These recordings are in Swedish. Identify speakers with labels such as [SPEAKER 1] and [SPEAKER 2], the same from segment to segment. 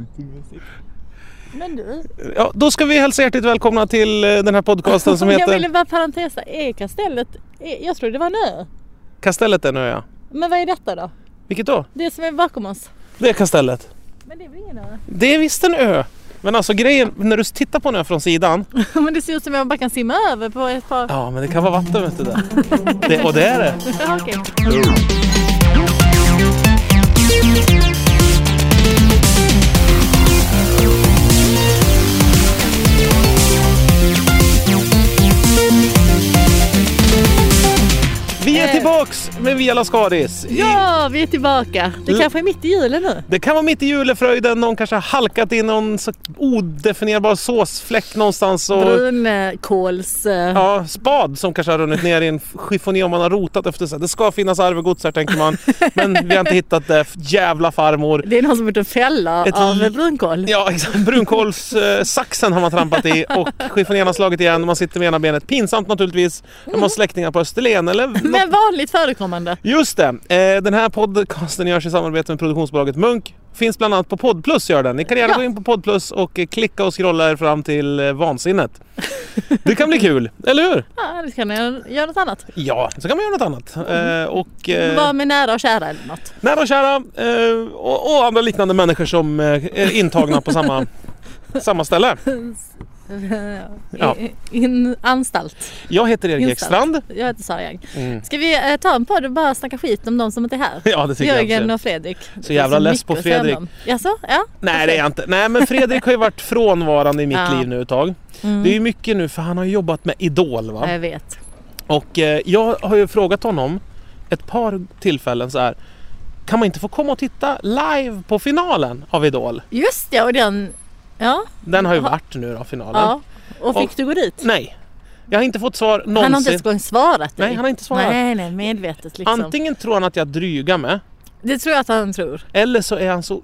[SPEAKER 1] Ratingmässigt. Men du,
[SPEAKER 2] Ja, då ska vi hälsa hjärtligt välkomna till eh, den här podcasten som
[SPEAKER 1] jag ville
[SPEAKER 2] heter
[SPEAKER 1] bara parentesa, är kastellet, är, jag trodde det var en ö.
[SPEAKER 2] Kastellet är en ö.
[SPEAKER 1] Men vad är detta då?
[SPEAKER 2] Vilket då?
[SPEAKER 1] Det som är bakom oss?
[SPEAKER 2] Det är Kastellet.
[SPEAKER 1] Men det är väl ingen ö?
[SPEAKER 2] Det är visst en ö. Men alltså grejen, när du tittar på en ö från sidan.
[SPEAKER 1] Men det ser ut som att man bara kan simma över på ett par...
[SPEAKER 2] Ja, men det kan vara vatten vet du där. Det, och det är det.
[SPEAKER 1] Ja, okej.
[SPEAKER 2] Vi är tillbaks med Via Lascaris.
[SPEAKER 1] Eh. Ja, vi är tillbaka. Det
[SPEAKER 2] Mm.
[SPEAKER 1] kanske är mitt i julen nu.
[SPEAKER 2] Det kan vara mitt i julefröjden, någon kanske har halkat in någon så odefinierbar såsfläck någonstans. Och,
[SPEAKER 1] Brunkåls... eh,
[SPEAKER 2] ja, spad som kanske har runnit ner i en chiffonier man har rotat efter sig. Det ska finnas arvegods här tänker man. Men vi har inte hittat det. Jävla farmor.
[SPEAKER 1] Det är någon som har gjort en fälla
[SPEAKER 2] Ett
[SPEAKER 1] av
[SPEAKER 2] l-
[SPEAKER 1] brunkål.
[SPEAKER 2] Ja, exakt. Brunkålssaxen har man trampat i och chiffonjén har slagit igen. Man sitter med ena benet. Pinsamt naturligtvis när man har släktingar på Österlen. Eller något.
[SPEAKER 1] Men vanligt förekommande.
[SPEAKER 2] Just det! Eh, den här podcasten görs i samarbete med produktionsbolaget Munk. Finns bland annat på Podplus. Gör den. Ni kan gärna
[SPEAKER 1] Ja.
[SPEAKER 2] gå in på Podplus och eh, klicka och scrolla er fram till eh, vansinnet. Det kan bli kul, eller hur?
[SPEAKER 1] Ja, det kan jag göra något annat.
[SPEAKER 2] Ja, så kan man göra något annat. Eh, och,
[SPEAKER 1] Mm. Men
[SPEAKER 2] eh,
[SPEAKER 1] Vara med nära och kära eller något.
[SPEAKER 2] Nära och kära eh, och, och andra liknande människor som eh, är intagna på samma, samma ställe. Ja.
[SPEAKER 1] I, in, anstalt.
[SPEAKER 2] Jag heter Erik
[SPEAKER 1] Instalt.
[SPEAKER 2] Ekstrand.
[SPEAKER 1] Jag heter Sara Young.
[SPEAKER 2] Mm.
[SPEAKER 1] Ska vi eh, ta en podd och bara snacka skit om de som inte är här?
[SPEAKER 2] Ja, det tycker jag.
[SPEAKER 1] Jörgen
[SPEAKER 2] absolut.
[SPEAKER 1] och Fredrik. Det finns
[SPEAKER 2] jävla less
[SPEAKER 1] mycket
[SPEAKER 2] på
[SPEAKER 1] att säga om
[SPEAKER 2] Fredrik.
[SPEAKER 1] dem. Jaså? Ja.
[SPEAKER 2] Nej, det är jag inte. Nej, men Fredrik har ju varit frånvarande i mitt
[SPEAKER 1] Ja.
[SPEAKER 2] liv nu ett tag.
[SPEAKER 1] Mm.
[SPEAKER 2] Det är ju mycket nu för han har ju jobbat med Idol. Va?
[SPEAKER 1] Ja, jag vet.
[SPEAKER 2] Och eh, jag har ju frågat honom ett par tillfällen så här. Kan man inte få komma och titta live på finalen av Idol?
[SPEAKER 1] Just det, och den... Ja.
[SPEAKER 2] Den har ju
[SPEAKER 1] Jaha.
[SPEAKER 2] varit nu då, finalen.
[SPEAKER 1] ja. Och fick
[SPEAKER 2] Och-
[SPEAKER 1] du gå dit?
[SPEAKER 2] Nej, jag har inte fått svar någonsin.
[SPEAKER 1] Han har inte ens gång svarat dig.
[SPEAKER 2] Nej, han har inte svarat.
[SPEAKER 1] Nej, nej, medvetet liksom.
[SPEAKER 2] Antingen tror han att jag drygar med
[SPEAKER 1] Det tror jag att han tror.
[SPEAKER 2] eller så är han så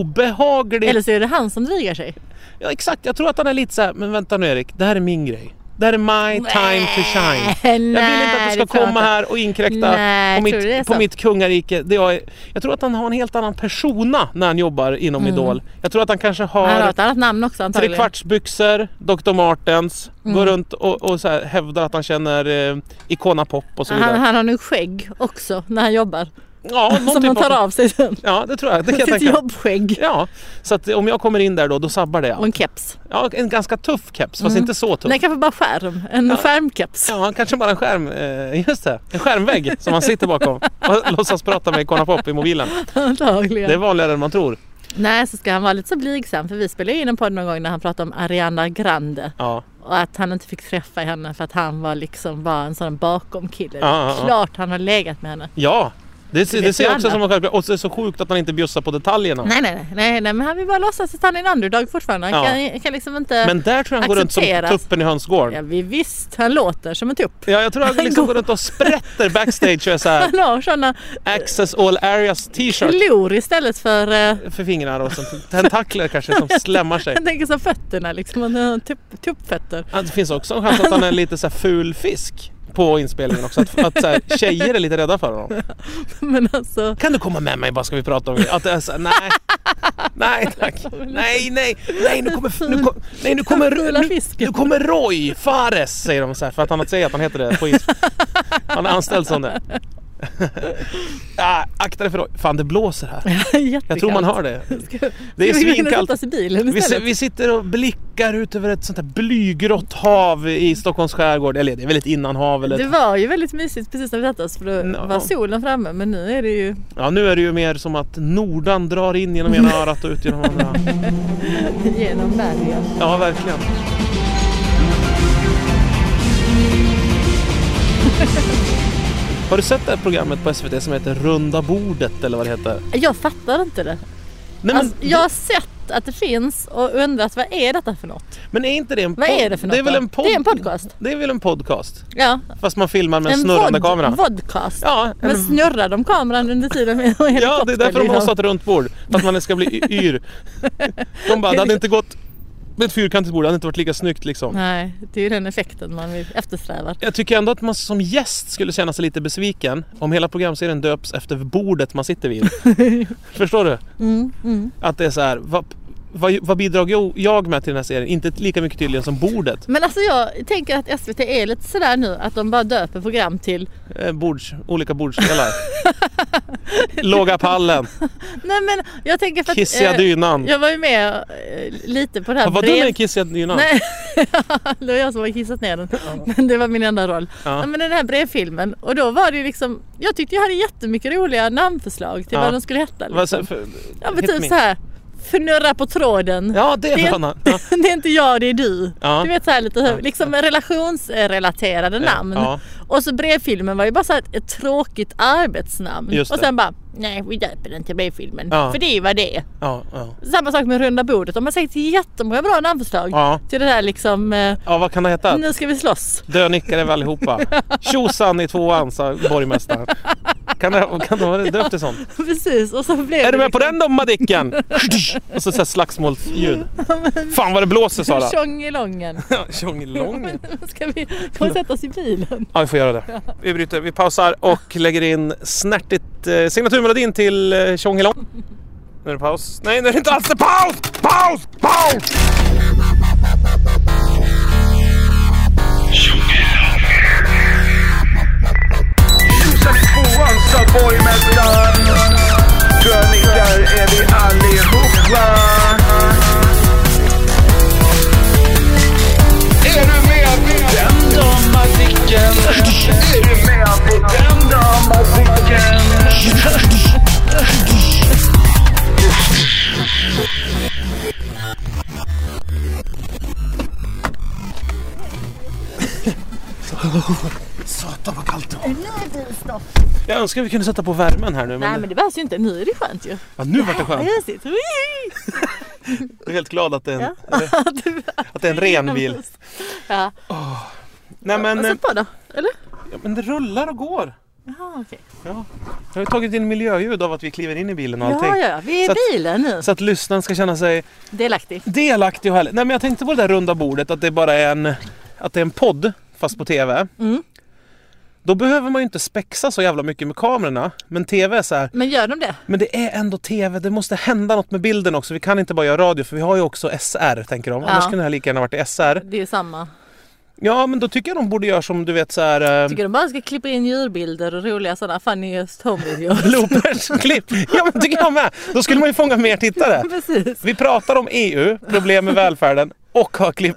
[SPEAKER 2] obehaglig.
[SPEAKER 1] Eller så är det han som drygar sig.
[SPEAKER 2] Ja, exakt, jag tror att han är lite så här, men vänta nu Erik, det här är min grej. Det här är my time to shine. Jag vill inte att du ska komma här och inkräkta
[SPEAKER 1] Nej,
[SPEAKER 2] på,
[SPEAKER 1] tror du det är
[SPEAKER 2] mitt, på
[SPEAKER 1] så?
[SPEAKER 2] mitt kungarike. Det jag, är- jag tror att han har en helt annan persona när han jobbar inom Idol. Jag tror att han kanske
[SPEAKER 1] Mm. Han har
[SPEAKER 2] har
[SPEAKER 1] ett annat namn också antagligen.
[SPEAKER 2] trekvartsbyxor, Dr. Martens,
[SPEAKER 1] Mm.
[SPEAKER 2] går runt och, och så här, hävdar att han känner eh, Icona Pop och så
[SPEAKER 1] han,
[SPEAKER 2] vidare.
[SPEAKER 1] han har nu skägg också när han jobbar.
[SPEAKER 2] Ja, någon
[SPEAKER 1] som
[SPEAKER 2] typ
[SPEAKER 1] han tar av sig sen.
[SPEAKER 2] Ja, det tror jag. Det kan jag
[SPEAKER 1] Sitt
[SPEAKER 2] tänka.
[SPEAKER 1] jobbskägg.
[SPEAKER 2] Ja, så att om jag kommer in där då, då sabbar det
[SPEAKER 1] Och en
[SPEAKER 2] allt.
[SPEAKER 1] keps.
[SPEAKER 2] Ja, en ganska tuff keps, fast inte så tuff.
[SPEAKER 1] Nej, kanske bara skärm. En skärmkeps.
[SPEAKER 2] Ja, kanske bara en skärm. eh, Just det, en skärmvägg som man sitter bakom och låtsas prata med Icona Pop i mobilen.
[SPEAKER 1] Antagligen.
[SPEAKER 2] Det är vanligare än man tror.
[SPEAKER 1] Nej, så ska han vara lite så blygsam. För vi spelade ju in en podd någon gång när han pratade om Ariana Grande.
[SPEAKER 2] Ja,
[SPEAKER 1] Och att han inte fick träffa henne för att han var liksom bara en sån bakomkille. Det
[SPEAKER 2] Ja,
[SPEAKER 1] är
[SPEAKER 2] ja, ja.
[SPEAKER 1] Klart han har legat med henne.
[SPEAKER 2] ja. Det, ser-
[SPEAKER 1] vet
[SPEAKER 2] det ser
[SPEAKER 1] ju
[SPEAKER 2] jag också
[SPEAKER 1] alla.
[SPEAKER 2] som en självklar... Och så är det så sjukt att han inte bjussar på detaljerna.
[SPEAKER 1] Nej, nej, nej, nej, nej, men han vill bara låtsas att han är en underdog fortfarande. Han
[SPEAKER 2] Ja.
[SPEAKER 1] kan, kan liksom inte...
[SPEAKER 2] Men där tror jag han går runt som
[SPEAKER 1] Accepteras.
[SPEAKER 2] tuppen i
[SPEAKER 1] Ja,
[SPEAKER 2] hönsgården.
[SPEAKER 1] vi visst, han låter som en tupp.
[SPEAKER 2] Ja, jag tror han liksom går runt och sprätter backstage och är så här
[SPEAKER 1] Han har sådana
[SPEAKER 2] access all areas t-shirt
[SPEAKER 1] klor istället för... eh,
[SPEAKER 2] för fingrar och sånt. Tentakler kanske som slämmar sig.
[SPEAKER 1] Jag tänker som fötterna liksom, han har tupp, tuppfötter.
[SPEAKER 2] Ja, Det finns också en chans att han är lite så här ful fisk på inspelningen också. Att, att så här, tjejer är lite rädda för honom.
[SPEAKER 1] Men alltså,
[SPEAKER 2] Kan du komma med mig bara ska vi prata om det? Att, alltså, nej. nej tack. Nej, nej, nej nu kommer, nu kom, nej, nu kommer,
[SPEAKER 1] Fula
[SPEAKER 2] nu,
[SPEAKER 1] fisken.
[SPEAKER 2] nu kommer Roy Fares säger de så här för att han säger att han heter det på ins- Han är anställd som det. Ah, akta dig för Roy. Fan det blåser här. Jag tror man hör det. Det är svinkallt.
[SPEAKER 1] i bilen
[SPEAKER 2] Vi, si-
[SPEAKER 1] istället?
[SPEAKER 2] vi sitter och blickar ut över ett sånt här blygrått hav i Stockholms skärgård. Eller det är väl ett innanhav eller
[SPEAKER 1] Det
[SPEAKER 2] ett...
[SPEAKER 1] var ju väldigt mysigt precis när vi satte oss för då
[SPEAKER 2] Ja.
[SPEAKER 1] var solen framme men nu är det ju
[SPEAKER 2] Ja nu är det ju mer som att Nordan drar in genom ena örat och ut genom andra.
[SPEAKER 1] genom bergen.
[SPEAKER 2] Ja, verkligen. Har du sett det här programmet på SVT som heter Runda bordet eller vad det heter?
[SPEAKER 1] Jag fattar inte det.
[SPEAKER 2] Nej, men,
[SPEAKER 1] Alltså, jag har sett att det finns och undrat vad är detta för något?
[SPEAKER 2] men är inte det en
[SPEAKER 1] Vad
[SPEAKER 2] pod-
[SPEAKER 1] är det för något
[SPEAKER 2] Det är väl
[SPEAKER 1] då?
[SPEAKER 2] en, pod-
[SPEAKER 1] Det är en podcast.
[SPEAKER 2] Det är väl en podcast?
[SPEAKER 1] Ja.
[SPEAKER 2] Fast man filmar med en snurrande
[SPEAKER 1] vod-
[SPEAKER 2] kamera.
[SPEAKER 1] Vodcast.
[SPEAKER 2] Ja, en...
[SPEAKER 1] Men snurrar de kameran under tiden med
[SPEAKER 2] ja, det är därför de har
[SPEAKER 1] liksom.
[SPEAKER 2] satt runt bord. För att man ska bli y- yr. De bara, det hade inte gått med ett fyrkantigt bord, det hade inte varit lika snyggt liksom.
[SPEAKER 1] Nej, det är ju den effekten man vill eftersträvar.
[SPEAKER 2] Jag tycker ändå att man som gäst skulle känna sig lite besviken om hela programserien döps efter bordet man sitter vid. Förstår du?
[SPEAKER 1] Mm, mm.
[SPEAKER 2] Att det är så här, vad, vad, vad bidrog jag- jag med till den här serien? Inte lika mycket tydligen som bordet.
[SPEAKER 1] Men alltså jag tänker att SVT är lite sådär nu att de bara döper program till
[SPEAKER 2] Eh, bords, olika bordsdelar. Låga pallen,
[SPEAKER 1] Nej men jag tänker för att
[SPEAKER 2] kissiga
[SPEAKER 1] eh,
[SPEAKER 2] dynan.
[SPEAKER 1] jag var ju med eh, lite på det här
[SPEAKER 2] Vad var du med i kissiga dynan?
[SPEAKER 1] Nej, det var jag som har kissat ner den. Men det var min enda roll.
[SPEAKER 2] Ja.
[SPEAKER 1] Nej, men den här brevfilmen och då var det ju liksom, jag tyckte jag hade jättemycket roliga namnförslag till
[SPEAKER 2] Ja.
[SPEAKER 1] vad de skulle heta.
[SPEAKER 2] Vad
[SPEAKER 1] Liksom.
[SPEAKER 2] sa- för-
[SPEAKER 1] Ja men
[SPEAKER 2] hit
[SPEAKER 1] typ
[SPEAKER 2] me.
[SPEAKER 1] så här, fnurra på tråden.
[SPEAKER 2] Ja, det
[SPEAKER 1] Det-
[SPEAKER 2] är bra namn. Ja.
[SPEAKER 1] Det är inte jag, det är du.
[SPEAKER 2] Ja.
[SPEAKER 1] Du vet så här lite hur, liksom relationsrelaterade namn.
[SPEAKER 2] Ja.
[SPEAKER 1] Och så brevfilmen var ju bara så här ett, ett tråkigt arbetsnamn.
[SPEAKER 2] Just
[SPEAKER 1] och
[SPEAKER 2] det.
[SPEAKER 1] sen bara, nej vi döper den till brevfilmen.
[SPEAKER 2] Ja.
[SPEAKER 1] För det är ju vad det är.
[SPEAKER 2] Ja, ja.
[SPEAKER 1] Samma sak med runda bordet. De har säkert jättemånga bra namnförslag.
[SPEAKER 2] Ja.
[SPEAKER 1] Till det där liksom, eh,
[SPEAKER 2] ja, vad kan det heta?
[SPEAKER 1] nu ska vi slåss.
[SPEAKER 2] Dönickare vi allihopa. Tjosan i tvåan sa borgmästaren. Kan det, kan det vara döpt till sånt?
[SPEAKER 1] Precis och så blev
[SPEAKER 2] Är du
[SPEAKER 1] det liksom
[SPEAKER 2] med på den då Madicken? Och så, så här slagsmålsljud. Fan vad det blåser Sara.
[SPEAKER 1] Tjongelången.
[SPEAKER 2] Tjongelången.
[SPEAKER 1] Ska vi gå och sätta oss i bilen?
[SPEAKER 2] Ja vi får göra det. Vi bryter, vi pausar och lägger in snärtigt eh, signaturmelodin till eh, Tjongelång. Nu är det paus. Nej nu är det inte alls det. Paus! Paus! Paus!
[SPEAKER 3] Tusen tvåan sa borgmästaren Krönikar är vi allihopa Är du med på den dramatiken? Är du med på den dramatiken?
[SPEAKER 2] Jag önskar vi kunde sätta på värmen här nu
[SPEAKER 1] Nej
[SPEAKER 2] men,
[SPEAKER 1] men det behövs ju inte. Nu är det skönt ju.
[SPEAKER 2] ja, nu vart det skönt.
[SPEAKER 1] Mysigt. Wee!
[SPEAKER 2] Jag är helt glad att det är en,
[SPEAKER 1] Att du-
[SPEAKER 2] att det är en ren bil.
[SPEAKER 1] Ja.
[SPEAKER 2] Nej men,
[SPEAKER 1] Men,
[SPEAKER 2] eh,
[SPEAKER 1] Sätt på då. Eller?
[SPEAKER 2] ja, men det rullar och går.
[SPEAKER 1] Jaha okej.
[SPEAKER 2] Jag har ju tagit in miljöljud av att vi kliver in i bilen och allting.
[SPEAKER 1] Ja, ja, ja. Vi är i
[SPEAKER 2] Så att-
[SPEAKER 1] bilen nu.
[SPEAKER 2] Så att lyssnaren ska känna sig
[SPEAKER 1] Delaktig.
[SPEAKER 2] delaktig och härlig. Nej men jag tänkte på det där runda bordet att det bara är en, att det är en podd fast på TV.
[SPEAKER 1] Mm.
[SPEAKER 2] Då behöver man ju inte spexa så jävla mycket med kamerorna. Men TV är så här,
[SPEAKER 1] Men gör de det?
[SPEAKER 2] men det är ändå TV, det måste hända något med bilden också. Vi kan inte bara göra radio för vi har ju också SR tänker de.
[SPEAKER 1] Ja.
[SPEAKER 2] Annars kunde det här lika gärna varit i SR.
[SPEAKER 1] Det är samma.
[SPEAKER 2] Ja men då tycker jag de borde göra som du vet så här... Eh,
[SPEAKER 1] Tycker de bara ska klippa in djurbilder och roliga sådana funniest home-videos?
[SPEAKER 2] Bloopers-klipp! Ja men tycker jag med! Då skulle man ju fånga mer tittare.
[SPEAKER 1] Precis.
[SPEAKER 2] Vi pratar om EU, problem med välfärden och har klipp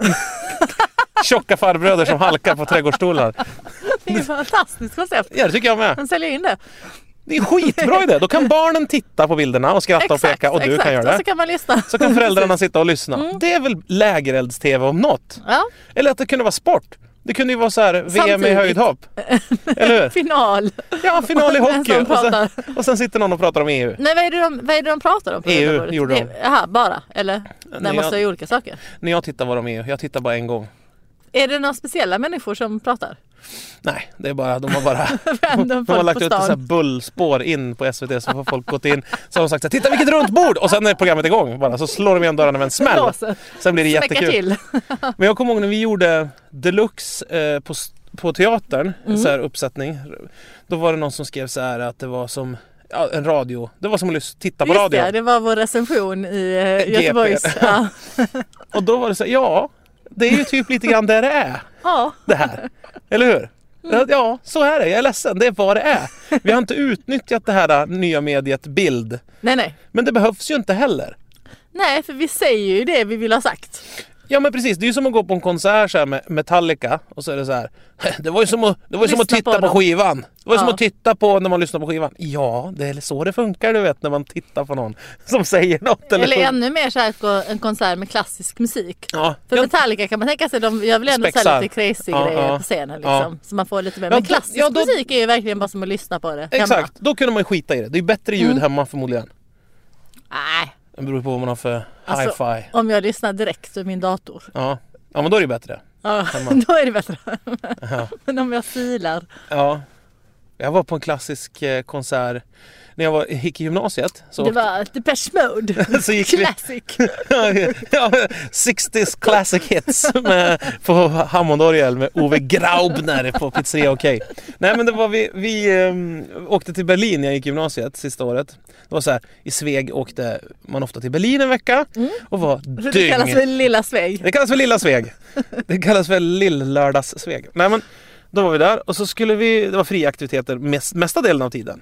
[SPEAKER 2] tjocka farbröder som halkar på trädgårdsstolar.
[SPEAKER 1] Det är ett fantastiskt koncept.
[SPEAKER 2] Ja, det tycker jag med.
[SPEAKER 1] De säljer in det.
[SPEAKER 2] Det är en skitbra idé. Då kan barnen titta på bilderna och skratta och peka och du
[SPEAKER 1] exakt.
[SPEAKER 2] kan göra
[SPEAKER 1] Och
[SPEAKER 2] det.
[SPEAKER 1] så kan Mm. man lyssna.
[SPEAKER 2] Så kan föräldrarna sitta och lyssna. Det är väl lägerelds-tv om något?
[SPEAKER 1] Ja,
[SPEAKER 2] Eller att det kunde vara sport. Det kunde ju vara så här VM i
[SPEAKER 1] Samtidigt.
[SPEAKER 2] höjdhopp. Eller hur?
[SPEAKER 1] final.
[SPEAKER 2] Ja, final i
[SPEAKER 1] En
[SPEAKER 2] hockey.
[SPEAKER 1] som
[SPEAKER 2] Och sen,
[SPEAKER 1] pratar.
[SPEAKER 2] och sen sitter någon och pratar om E EU.
[SPEAKER 1] Nej, vad är det de, vad är det de pratar om? På
[SPEAKER 2] EU
[SPEAKER 1] rundabordet?
[SPEAKER 2] E gjorde de.
[SPEAKER 1] Det- Jaha, bara? Eller?
[SPEAKER 2] jag-
[SPEAKER 1] Det måste vara olika saker.
[SPEAKER 2] När jag tittar var de EU, jag tittar bara en gång.
[SPEAKER 1] Är det några speciella människor som pratar?
[SPEAKER 2] Nej, det är bara, de har bara
[SPEAKER 1] Random
[SPEAKER 2] De har
[SPEAKER 1] folk
[SPEAKER 2] lagt
[SPEAKER 1] på
[SPEAKER 2] ut ett så här
[SPEAKER 1] stan.
[SPEAKER 2] bullspår in på SVT så har folk gått in så har de sagt så här, titta vilket runt bord och sen är programmet igång bara så slår de igen dörrarna med en smäll.
[SPEAKER 1] Blåser.
[SPEAKER 2] Sen blir det
[SPEAKER 1] Smäckar
[SPEAKER 2] jättekul.
[SPEAKER 1] till.
[SPEAKER 2] Men jag kommer ihåg när vi gjorde deluxe eh, på, s- på teatern,
[SPEAKER 1] Mm.
[SPEAKER 2] så här uppsättning. Då var det någon som skrev så här att det var som ja, en radio, det var som att lys- titta på
[SPEAKER 1] Just
[SPEAKER 2] radio.
[SPEAKER 1] det, det var vår recension i eh,
[SPEAKER 2] GP.
[SPEAKER 1] Göteborgs... Ja.
[SPEAKER 2] Och då var det så här, ja det är ju typ lite grann där det är
[SPEAKER 1] ja,
[SPEAKER 2] det här. Eller hur?
[SPEAKER 1] Mm.
[SPEAKER 2] Ja, så är det. Jag är ledsen, det är vad det är. Vi har inte utnyttjat det här eh, nya mediet bild.
[SPEAKER 1] nej nej.
[SPEAKER 2] Men det behövs ju inte heller.
[SPEAKER 1] Nej, för vi säger ju det vi vill ha sagt.
[SPEAKER 2] Ja men precis, det är ju som att gå på en konsert så här med Metallica och så är det så här. Det var ju som att, det var ju som att
[SPEAKER 1] Lyssna
[SPEAKER 2] titta
[SPEAKER 1] på
[SPEAKER 2] på,
[SPEAKER 1] dem."
[SPEAKER 2] skivan. Det var ju som
[SPEAKER 1] Ja.
[SPEAKER 2] att titta på när man lyssnar på skivan. Ja, det är så det funkar du vet när man tittar på någon som säger något. Eller,
[SPEAKER 1] Eller
[SPEAKER 2] sjung-
[SPEAKER 1] ännu mer så här på en konsert med klassisk musik.
[SPEAKER 2] Ja,
[SPEAKER 1] För
[SPEAKER 2] jag,
[SPEAKER 1] Metallica kan man tänka sig, de gör väl ändå så
[SPEAKER 2] Spexar.
[SPEAKER 1] här lite crazy
[SPEAKER 2] Ja,
[SPEAKER 1] grejer
[SPEAKER 2] ja.
[SPEAKER 1] på scenen
[SPEAKER 2] Ja.
[SPEAKER 1] liksom. Så man får lite mer.
[SPEAKER 2] Ja,
[SPEAKER 1] Men
[SPEAKER 2] då-
[SPEAKER 1] klassisk
[SPEAKER 2] ja, då-
[SPEAKER 1] musik är ju verkligen bara som att lyssna på det hemma. Mm.
[SPEAKER 2] exakt, då kunde man ju skita i det. Det är ju bättre ljud hemma förmodligen.
[SPEAKER 1] Nej,
[SPEAKER 2] Det beror på vad man har för
[SPEAKER 1] Alltså-
[SPEAKER 2] hi-fi.
[SPEAKER 1] om jag lyssnar direkt ur min dator.
[SPEAKER 2] Ja. ja, men då är det ju bättre.
[SPEAKER 1] Ja,
[SPEAKER 2] Hemma.
[SPEAKER 1] då är det bättre. Men om jag filar.
[SPEAKER 2] Ja. Jag var på en klassisk eh, konsert när jag var, gick i gymnasiet. Så,
[SPEAKER 1] Det var Depeche Mode.
[SPEAKER 2] så gick vi,
[SPEAKER 1] Classic.
[SPEAKER 2] ja, 60s classic hits med, på Hammondorgel med Ove Graubner på Pizzeria Okej. Nej men det var vi, vi ehm, åkte till Berlin när jag gick i gymnasiet sista året. Det var så här, i Sveg åkte man ofta till Berlin en vecka och var
[SPEAKER 1] Så Det kallas
[SPEAKER 2] dyng.
[SPEAKER 1] för Lilla Sveg.
[SPEAKER 2] Det kallas för Lilla Sveg. Det kallas för Lill-lördags-Sveg. Nej men, då var vi där och så skulle vi, det var fria aktiviteter mest, mesta delen av tiden.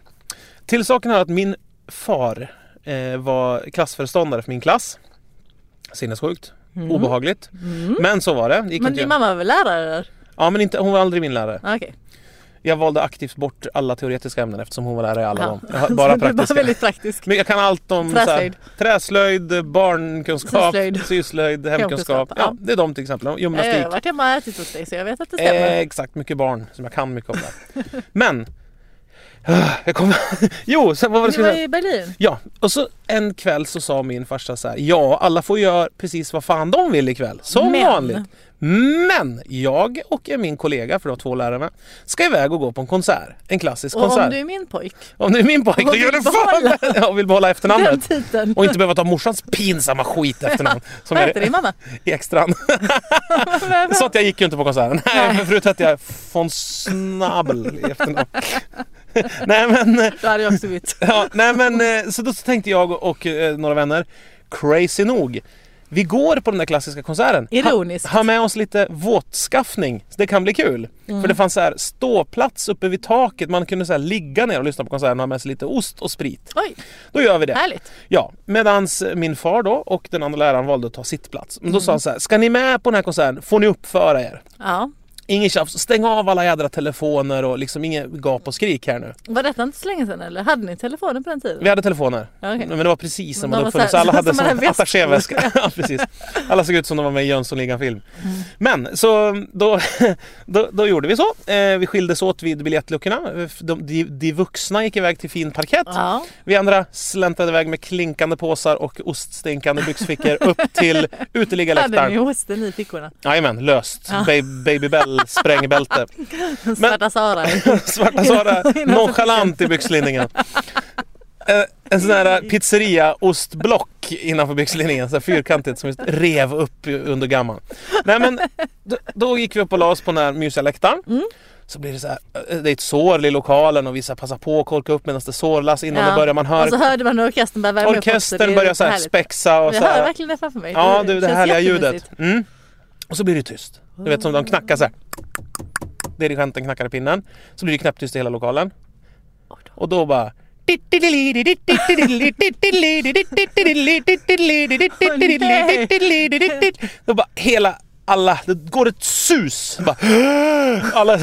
[SPEAKER 2] Till saken här att min far eh, var klassföreståndare för min klass. Sinnessjukt. Obehagligt. Men så var det. det Mm. gick
[SPEAKER 1] Mm. Men
[SPEAKER 2] inte
[SPEAKER 1] din
[SPEAKER 2] att-
[SPEAKER 1] mamma var väl lärare? eller?
[SPEAKER 2] Ja men inte, hon var aldrig min lärare.
[SPEAKER 1] Ah, Okej.
[SPEAKER 2] Jag valde aktivt bort alla teoretiska ämnen eftersom hon var lärare i alla
[SPEAKER 1] Ja.
[SPEAKER 2] dem. Jag har Bara
[SPEAKER 1] Så du var
[SPEAKER 2] praktiska.
[SPEAKER 1] väldigt praktisk.
[SPEAKER 2] Men jag kan allt om
[SPEAKER 1] Träslöjd.
[SPEAKER 2] Så här, träslöjd, barnkunskap, syslöjd,
[SPEAKER 1] Syslöjd.
[SPEAKER 2] hemkunskap.
[SPEAKER 1] Hemkunskap,
[SPEAKER 2] Ja,
[SPEAKER 1] ja.
[SPEAKER 2] det är de till exempel.
[SPEAKER 1] Jag
[SPEAKER 2] Gymnastik.
[SPEAKER 1] har varit hemma och ätit hos dig så jag vet att det
[SPEAKER 2] Eh,
[SPEAKER 1] stämmer.
[SPEAKER 2] exakt, mycket barn som jag kan mycket om där. Men, ah, jag kommer... jo, sen vad var det jag
[SPEAKER 1] Ni
[SPEAKER 2] skulle
[SPEAKER 1] var
[SPEAKER 2] säga?
[SPEAKER 1] i Berlin.
[SPEAKER 2] Ja, och så en kväll så sa min farsa så här, ja alla får göra precis vad fan de vill ikväll, som
[SPEAKER 1] Men.
[SPEAKER 2] vanligt. Men jag och min kollega, för det var två lärare med, ska iväg och gå på en konsert. En klassisk
[SPEAKER 1] Och
[SPEAKER 2] konsert.
[SPEAKER 1] om du är min pojk,
[SPEAKER 2] om du är min pojk,
[SPEAKER 1] och
[SPEAKER 2] då gör du
[SPEAKER 1] vill
[SPEAKER 2] fan
[SPEAKER 1] behålla-
[SPEAKER 2] Jag vill behålla
[SPEAKER 1] den
[SPEAKER 2] efternamnet.
[SPEAKER 1] titeln.
[SPEAKER 2] Och inte behöva ta morsans pinsamma skit efternamn. Som
[SPEAKER 1] Vad heter din
[SPEAKER 2] är
[SPEAKER 1] mamma?
[SPEAKER 2] Ekstrand. Så att jag gick ju inte på konserten. Nej, men förut hette jag von Snabel i efternamn. nej, men, eh,
[SPEAKER 1] Då hade jag också bytt.
[SPEAKER 2] ja, nej men eh, så då så tänkte jag och, och eh, några vänner, crazy nog, vi går på den där klassiska konserten.
[SPEAKER 1] Ironiskt.
[SPEAKER 2] Ha, ha med oss lite våtskaffning, så det kan bli kul. För det fanns så här ståplats uppe vid taket, man kunde så här ligga ner och lyssna på konserten och ha med sig lite ost och sprit.
[SPEAKER 1] Oj,
[SPEAKER 2] Då gör vi det.
[SPEAKER 1] härligt.
[SPEAKER 2] Ja, medans min far då och den andra läraren valde att ta sitt plats. Men då
[SPEAKER 1] Mm.
[SPEAKER 2] sa han så här, ska ni med på den här konserten får ni uppföra er.
[SPEAKER 1] Ja.
[SPEAKER 2] Inget tjafs, stäng av alla jädra telefoner och liksom inget gap och skrik här nu.
[SPEAKER 1] Var detta inte så länge sedan eller? Hade ni telefonen på den tiden?
[SPEAKER 2] Vi hade telefoner,
[SPEAKER 1] Ja, okej.
[SPEAKER 2] men det var precis som
[SPEAKER 1] Men de
[SPEAKER 2] de hade
[SPEAKER 1] var
[SPEAKER 2] uppfunnits.
[SPEAKER 1] så här-
[SPEAKER 2] Alla hade
[SPEAKER 1] som
[SPEAKER 2] som
[SPEAKER 1] en väst-
[SPEAKER 2] attachéväska. ja, precis. Alla såg ut som de var med i Jönssonligan-film.
[SPEAKER 1] Mm.
[SPEAKER 2] Men så då, då, då gjorde vi så. Eh, vi skildes åt vid biljettluckorna. De, de, de vuxna gick iväg till fin parkett.
[SPEAKER 1] Ja.
[SPEAKER 2] Vi andra släntrade iväg med klinkande påsar och oststinkande byxfickor upp till
[SPEAKER 1] Hade ni
[SPEAKER 2] uteliggarläktaren.
[SPEAKER 1] hosten i fickorna?
[SPEAKER 2] Jajamän, löst.
[SPEAKER 1] Ja.
[SPEAKER 2] Ba- Babybell, sprängbälte.
[SPEAKER 1] Svarta Sara.
[SPEAKER 2] Svarta Sara, nonchalant i byxlinningen. Eh, En sån här pizzeria-ostblock innanför byxlinningen, så här fyrkantigt som just rev upp under gamman. Nej men, då, då gick vi upp och la oss på den här mysiga läktaren.
[SPEAKER 1] Mm.
[SPEAKER 2] Så blir det så här, eh, det är ett sorl i lokalen och vi så här passar på att korka upp medan det sorlas innan det börjar. Man hör
[SPEAKER 1] Och så hörde man hur orkestern började värma upp också. Det är
[SPEAKER 2] Orkestern börjar så här
[SPEAKER 1] härligt.
[SPEAKER 2] spexa och
[SPEAKER 1] Jag
[SPEAKER 2] så
[SPEAKER 1] hör
[SPEAKER 2] här.
[SPEAKER 1] verkligen det framför mig.
[SPEAKER 2] Ja, du, det
[SPEAKER 1] känns
[SPEAKER 2] härliga
[SPEAKER 1] jättemysigt.
[SPEAKER 2] ljudet. Mm. Och så blir det tyst. Du vet som de knackar så här. Dirigenten knackar i pinnen. Så blir det knäpptyst i hela lokalen. Och då bara... Då bara hela... Alla, det går ett sus. Bara, alla,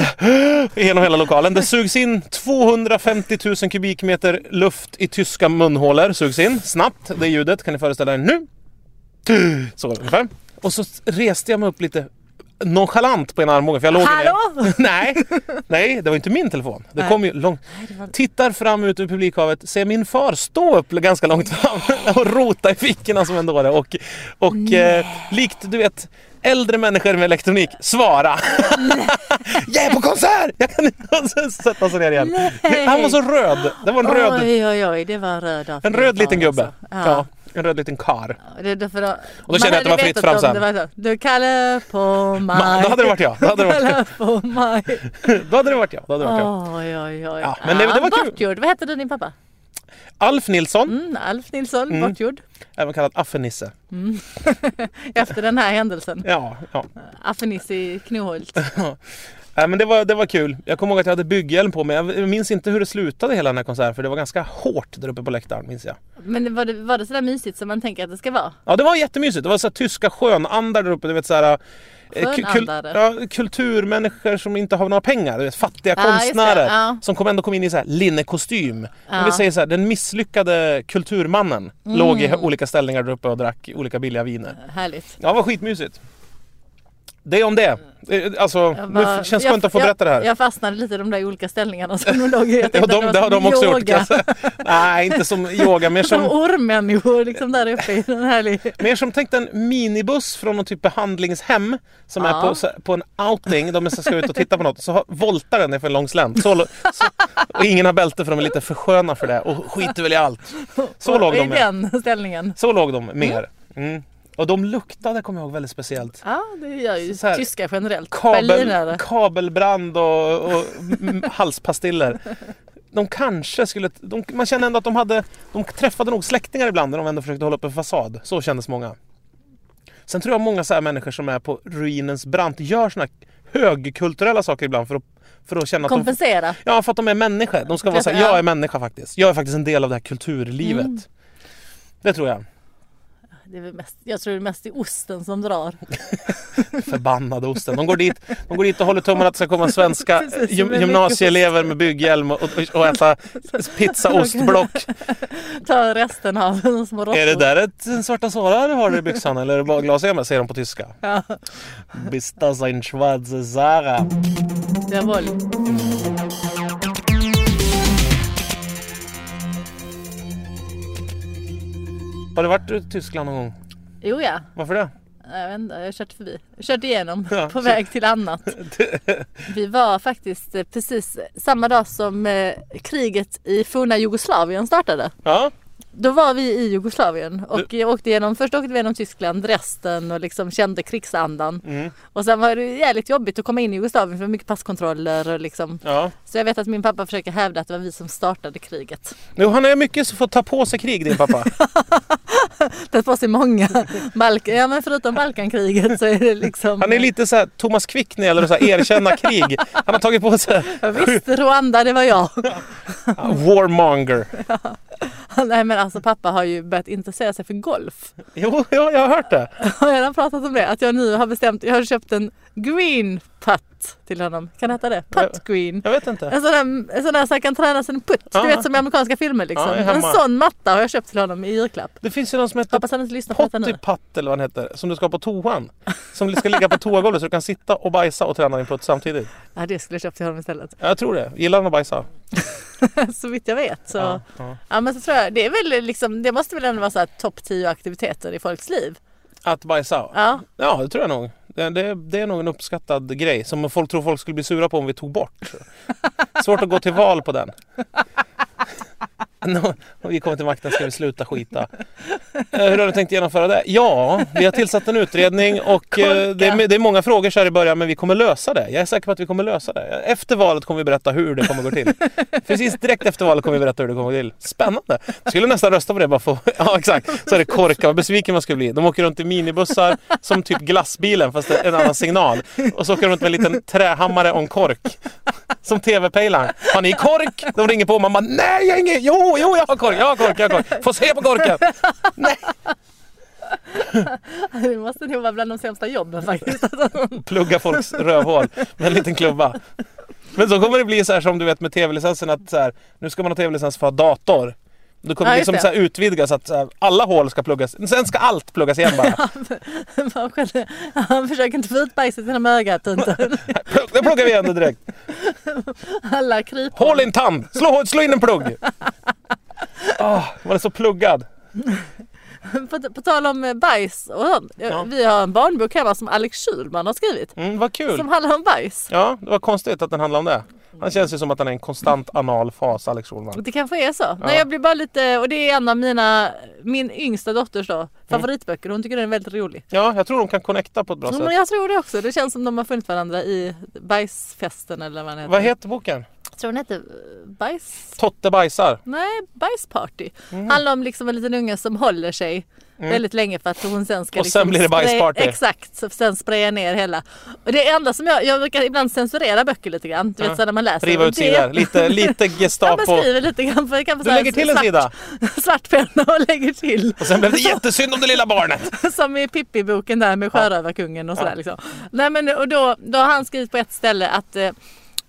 [SPEAKER 2] genom hela lokalen. Det sugs in 250 000 kubikmeter luft i tyska munhålor. Sugs in snabbt. Det ljudet kan ni föreställa er nu. Så ungefär. Och så reste jag mig upp lite nonchalant på ena armbågen. För jag låg ju ner.
[SPEAKER 1] Hallå?
[SPEAKER 2] Nej, nej, det var inte min telefon. Det
[SPEAKER 1] Nej.
[SPEAKER 2] kom ju långt. Tittar fram ut ur publikhavet, ser min far stå upp ganska långt fram och rota i fickorna som en dåre. Och, och eh, likt, du vet, äldre människor med elektronik, svara. jag är på konsert! Jag kan inte Och så sätta sig ner igen.
[SPEAKER 1] Nej.
[SPEAKER 2] Han var så röd. Det var en röd,
[SPEAKER 1] Oj, oj, oj, det var en röd dag för
[SPEAKER 2] en
[SPEAKER 1] min
[SPEAKER 2] röd
[SPEAKER 1] far
[SPEAKER 2] liten gubbe.
[SPEAKER 1] alltså.
[SPEAKER 2] Ja,
[SPEAKER 1] Ja.
[SPEAKER 2] en röd liten kar.
[SPEAKER 1] Det är därför då,
[SPEAKER 2] Och då kände jag att det var fritt fram sen.
[SPEAKER 1] Du kallar på mig.
[SPEAKER 2] Då hade det varit jag. Då hade det varit jag.
[SPEAKER 1] Kallar på mig.
[SPEAKER 2] Då hade det varit jag. Då hade det varit jag.
[SPEAKER 1] Oj, oj, oj.
[SPEAKER 2] Ja, men det- det var kul.
[SPEAKER 1] bortgjord. Vad hette din pappa?
[SPEAKER 2] Alf Nilsson,
[SPEAKER 1] Mm, Alf Nilsson, bortgjord.
[SPEAKER 2] även kallad Affenisse.
[SPEAKER 1] Efter den här händelsen.
[SPEAKER 2] Ja, ja.
[SPEAKER 1] Affenissi i Knohult.
[SPEAKER 2] Nej, men det, var, det var kul. Jag kommer ihåg att jag hade bygghjälm på mig. Jag minns inte hur det slutade hela den här konserten för det var ganska hårt där uppe på läktaren minns jag.
[SPEAKER 1] Men var det, var det sådär mysigt som man tänker att det ska vara?
[SPEAKER 2] Ja det var jättemysigt. Det var så här tyska skönandar där uppe. Du vet så här, eh, ku- kul-
[SPEAKER 1] Skönandare.
[SPEAKER 2] ja, kulturmänniskor som inte har några pengar. Du vet, fattiga
[SPEAKER 1] Ja, just det.
[SPEAKER 2] konstnärer
[SPEAKER 1] Ja.
[SPEAKER 2] som kom ändå kom in i så här linnekostym.
[SPEAKER 1] Ja.
[SPEAKER 2] Om vi säger så här, den misslyckade kulturmannen
[SPEAKER 1] Mm.
[SPEAKER 2] låg i olika ställningar där uppe och drack olika billiga viner.
[SPEAKER 1] Härligt.
[SPEAKER 2] Ja, det var skitmysigt. Det är om det. Eh, Alltså,
[SPEAKER 1] Jag
[SPEAKER 2] nu
[SPEAKER 1] bara-
[SPEAKER 2] känns det
[SPEAKER 1] jag-
[SPEAKER 2] skönt att få
[SPEAKER 1] jag-
[SPEAKER 2] berätta det här.
[SPEAKER 1] Jag fastnade lite i de där olika ställningarna som de låg i. Jag
[SPEAKER 2] Ja,
[SPEAKER 1] tänkte
[SPEAKER 2] de,
[SPEAKER 1] att var
[SPEAKER 2] det har
[SPEAKER 1] som
[SPEAKER 2] de också
[SPEAKER 1] yoga.
[SPEAKER 2] gjort kan jag säga. Nej, inte som yoga. Mer
[SPEAKER 1] Som
[SPEAKER 2] som,
[SPEAKER 1] ormmänniskor liksom där uppe i den här
[SPEAKER 2] mer som tänkt en minibuss från någon typ behandlingshem som
[SPEAKER 1] Ja.
[SPEAKER 2] är på, så- på en outing. De är så- ska ut och titta på något. Så har- voltar den ner för en lång slänt. Så, lo- så, och ingen har bälte för de är lite för sköna för det. Och skiter väl i allt. Så låg
[SPEAKER 1] I
[SPEAKER 2] de med.
[SPEAKER 1] den ställningen.
[SPEAKER 2] Så låg de mer. Mm. Och de luktade kommer jag ihåg väldigt speciellt.
[SPEAKER 1] Ja, det gör ju
[SPEAKER 2] Så här,
[SPEAKER 1] tyskar generellt.
[SPEAKER 2] Kabel,
[SPEAKER 1] Berlinare.
[SPEAKER 2] kabelbrand och, och m- halspastiller. De kanske skulle... De, man känner ändå att de hade... De träffade nog släktingar ibland när de ändå försökte hålla upp en fasad. Så kändes många. Sen tror jag många så här människor som är på ruinens brant gör såna här högkulturella saker ibland för att, för att känna att de...
[SPEAKER 1] Kompensera.
[SPEAKER 2] Ja, för att de är människor. De ska vara så här, jag är människa faktiskt. Jag är faktiskt en del av det här kulturlivet.
[SPEAKER 1] Mm.
[SPEAKER 2] Det tror jag.
[SPEAKER 1] Det är väl mest, jag tror det är mest i osten som drar.
[SPEAKER 2] Förbannade osten. De går dit, de går dit och håller tummarna att det ska komma svenska
[SPEAKER 1] Precis,
[SPEAKER 2] gym-
[SPEAKER 1] med
[SPEAKER 2] gymnasieelever med bygghjälm och, och, och äta pizza ostblock.
[SPEAKER 1] Ta resten av de små råttor.
[SPEAKER 2] Är det där ett en svarta Sara du har i byxan eller är det bara glasögon? Säger de på tyska.
[SPEAKER 1] Ja,
[SPEAKER 2] Bist das ein schwarze Sara?
[SPEAKER 1] det är våld.
[SPEAKER 2] Har du varit i Tyskland någon gång?
[SPEAKER 1] Jo ja,
[SPEAKER 2] Varför det?
[SPEAKER 1] jag vet inte, jag har kört förbi. Jag har Kört igenom
[SPEAKER 2] Ja,
[SPEAKER 1] på
[SPEAKER 2] så-
[SPEAKER 1] väg till annat. Vi var faktiskt eh, precis samma dag som eh, kriget i forna Jugoslavien startade.
[SPEAKER 2] Ja,
[SPEAKER 1] Då var vi i Jugoslavien och jag åkte igenom, först åkte vi genom Tyskland, resten och liksom kände krigsandan.
[SPEAKER 2] Mm.
[SPEAKER 1] Och sen var det jävligt jobbigt att komma in i Jugoslavien för det var mycket passkontroller och liksom.
[SPEAKER 2] ja.
[SPEAKER 1] Så jag vet att min pappa försöker hävda att det var vi som startade kriget.
[SPEAKER 2] Jo, han är mycket som får ta på sig krig din pappa.
[SPEAKER 1] tagit på sig många Balkan, ja men förutom Balkankriget så är det liksom
[SPEAKER 2] Han är lite så här Thomas Quick när det gäller att så här erkänna krig. Han har tagit på sig
[SPEAKER 1] Ja, Visst, Rwanda det var jag.
[SPEAKER 2] warmonger.
[SPEAKER 1] Nej men alltså pappa har ju börjat intressera sig för golf.
[SPEAKER 2] Jo, ja, jag har hört det.
[SPEAKER 1] Har jag redan pratat om det? Att jag nu har bestämt, jag har köpt en green putt till honom. Kan det heta det? Putt green.
[SPEAKER 2] Jag vet inte.
[SPEAKER 1] En sån, där, en sån där så han kan träna sin putt. Du
[SPEAKER 2] Ja.
[SPEAKER 1] vet som i amerikanska filmer liksom.
[SPEAKER 2] Ja, jag är
[SPEAKER 1] en
[SPEAKER 2] hemma.
[SPEAKER 1] sån matta har jag köpt till honom i julklapp.
[SPEAKER 2] Det finns ju någon som heter
[SPEAKER 1] Hoppas han inte lyssnar på detta nu.
[SPEAKER 2] Pottypatt eller vad den heter, som du ska ha på toan. Som ska ligga på toagolvet så du kan sitta och bajsa och träna din putt samtidigt.
[SPEAKER 1] Ja det skulle jag köpt till honom istället.
[SPEAKER 2] Ja, Jag tror det. Gillar han att bajsa?
[SPEAKER 1] så vitt jag vet så.
[SPEAKER 2] Ja,
[SPEAKER 1] Ja,
[SPEAKER 2] ja.
[SPEAKER 1] men så tror jag, det är väl liksom, det måste väl ändå vara så här topp 10 aktiviteter i folks liv.
[SPEAKER 2] Att bajsa?
[SPEAKER 1] Ja,
[SPEAKER 2] Ja, det tror jag nog. Det, det, det är nog en uppskattad grej som folk tror folk skulle bli sura på om vi tog bort. Svårt att gå till val på den. Nå, Om vi kommer till makten ska vi sluta skita. Eh, Hur har du tänkt genomföra det? Ja, vi har tillsatt en utredning och eh, det är, det är många frågor så här i början men vi kommer lösa det. Jag är säker på att vi kommer lösa det. Efter valet kommer vi berätta hur det kommer gå till. Precis direkt efter valet kommer vi berätta hur det kommer gå till. Spännande! Jag skulle nästan rösta på det bara för Ja exakt, så är det korka. Vad besviken man skulle bli. De åker runt i minibussar som typ glassbilen fast det är en annan signal. Och så åker de runt med en liten trähammare och en kork. Som TV-pejlaren. Har ni kork? De ringer på och man bara nej jag har ingen. Jo, jo jag har kork, jag har kork, jag har kork. Få se på korken.
[SPEAKER 1] det måste nog vara bland de sämsta jobben faktiskt.
[SPEAKER 2] Plugga folks rövhål med en liten klubba. Men så kommer det bli så här som du vet med TV-licensen att så här, nu ska man ha TV-licens för att ha dator. Då kommer
[SPEAKER 1] Ja,
[SPEAKER 2] det
[SPEAKER 1] just
[SPEAKER 2] liksom
[SPEAKER 1] det.
[SPEAKER 2] så här utvidgas att så här, alla hål ska pluggas. Sen ska allt pluggas igen bara.
[SPEAKER 1] Man skäller- Han försöker inte få ut bajset genom ögat inte.
[SPEAKER 2] Plugg, då pluggar vi igen det direkt.
[SPEAKER 1] Alla kryper.
[SPEAKER 2] Hål i en tand! Slå, slå in en plugg! Ah, man är så pluggad.
[SPEAKER 1] På, på tal om eh, bajs och sånt.
[SPEAKER 2] Ja.
[SPEAKER 1] Vi har en barnbok hemma som Alex Schulman har skrivit.
[SPEAKER 2] Mm, vad kul.
[SPEAKER 1] Som handlar om bajs.
[SPEAKER 2] Ja, det var konstigt att den handlade om det. Han känns ju som att han är i en konstant anal fas, Alex Schulman.
[SPEAKER 1] Det kanske är så. Nej, jag blir bara lite, och det är en av mina, min yngsta dotters
[SPEAKER 2] Mm.
[SPEAKER 1] då, favoritböcker. Hon tycker den är väldigt rolig.
[SPEAKER 2] Ja, jag tror de kan connecta på ett bra
[SPEAKER 1] Ja, men
[SPEAKER 2] sätt.
[SPEAKER 1] jag tror det också. Det känns som de har funnit varandra i bajsfesten eller vad den heter.
[SPEAKER 2] Vad heter boken?
[SPEAKER 1] Jag tror den heter eh, bajs...
[SPEAKER 2] Totte bajsar.
[SPEAKER 1] Nej, bajsparty.
[SPEAKER 2] Mhm.
[SPEAKER 1] Handlar om liksom en liten unge som håller sig väldigt länge för att hon sen ska
[SPEAKER 2] Mm. Och sen blir det
[SPEAKER 1] spraya-
[SPEAKER 2] bajsparty.
[SPEAKER 1] Exakt, så sen sprayar ner hela. Och det enda som jag, jag brukar ibland censurera böcker lite grann. Du
[SPEAKER 2] Ja.
[SPEAKER 1] vet så när man läser.
[SPEAKER 2] Riva
[SPEAKER 1] Och
[SPEAKER 2] ut
[SPEAKER 1] det-
[SPEAKER 2] sidor. Lite, lite
[SPEAKER 1] Ja,
[SPEAKER 2] Gestapo.
[SPEAKER 1] man skriver lite grann. För jag kan få så
[SPEAKER 2] Du
[SPEAKER 1] här
[SPEAKER 2] lägger till en
[SPEAKER 1] svart-
[SPEAKER 2] sida.
[SPEAKER 1] Svart penna och lägger till.
[SPEAKER 2] Och sen blev det jättesynd om det lilla barnet.
[SPEAKER 1] Som i Pippi-boken där med sjörövarkungen och sådär. Liksom. Nej, men, och då, då har han skrivit på ett ställe att eh,